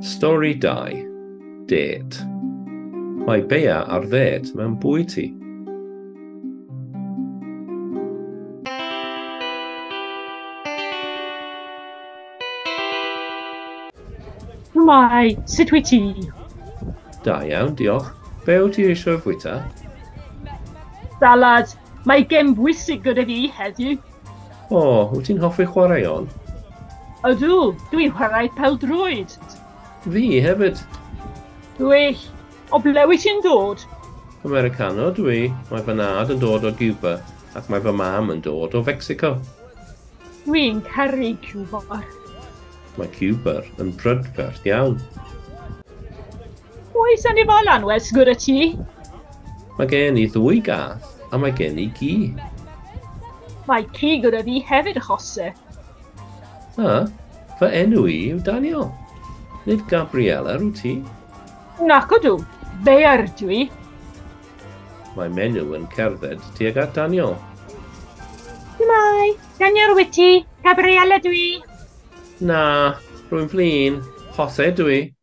Stori 2. Det. Mae Bea ar ddet mewn bwyty. Mae, sut wyt ti? Da iawn, diolch. Be wyt ti eisiau fwyta? Salad, mae gem bwysig gyda fi heddiw. O, wyt ti'n hoffi chwaraeon? Ydw, dwi'n chwarae pel drwyd. Fi hefyd. Gwych, o ble wyt ti'n dod? Americano dwi. Mae fy nad yn dod o Cuba ac mae fy mam yn dod o Fecsico. Dwi'n caru cwbar. Mae Cuba yn brydferth iawn. Oes anifal anwes gyda ti? Mae gen i ddwy gath a mae gen i gi. Mae ci gyda fi hefyd achosau. A, fy enw i yw Daniel. Nid Gabriela rwyt ti. Nac ydw, bear dwi. Mae menyw yn cerdded tuag at Daniel. Mae, Daniel wyt ti, Gabriela dwi. Na, rwy'n flin. Hose dwi.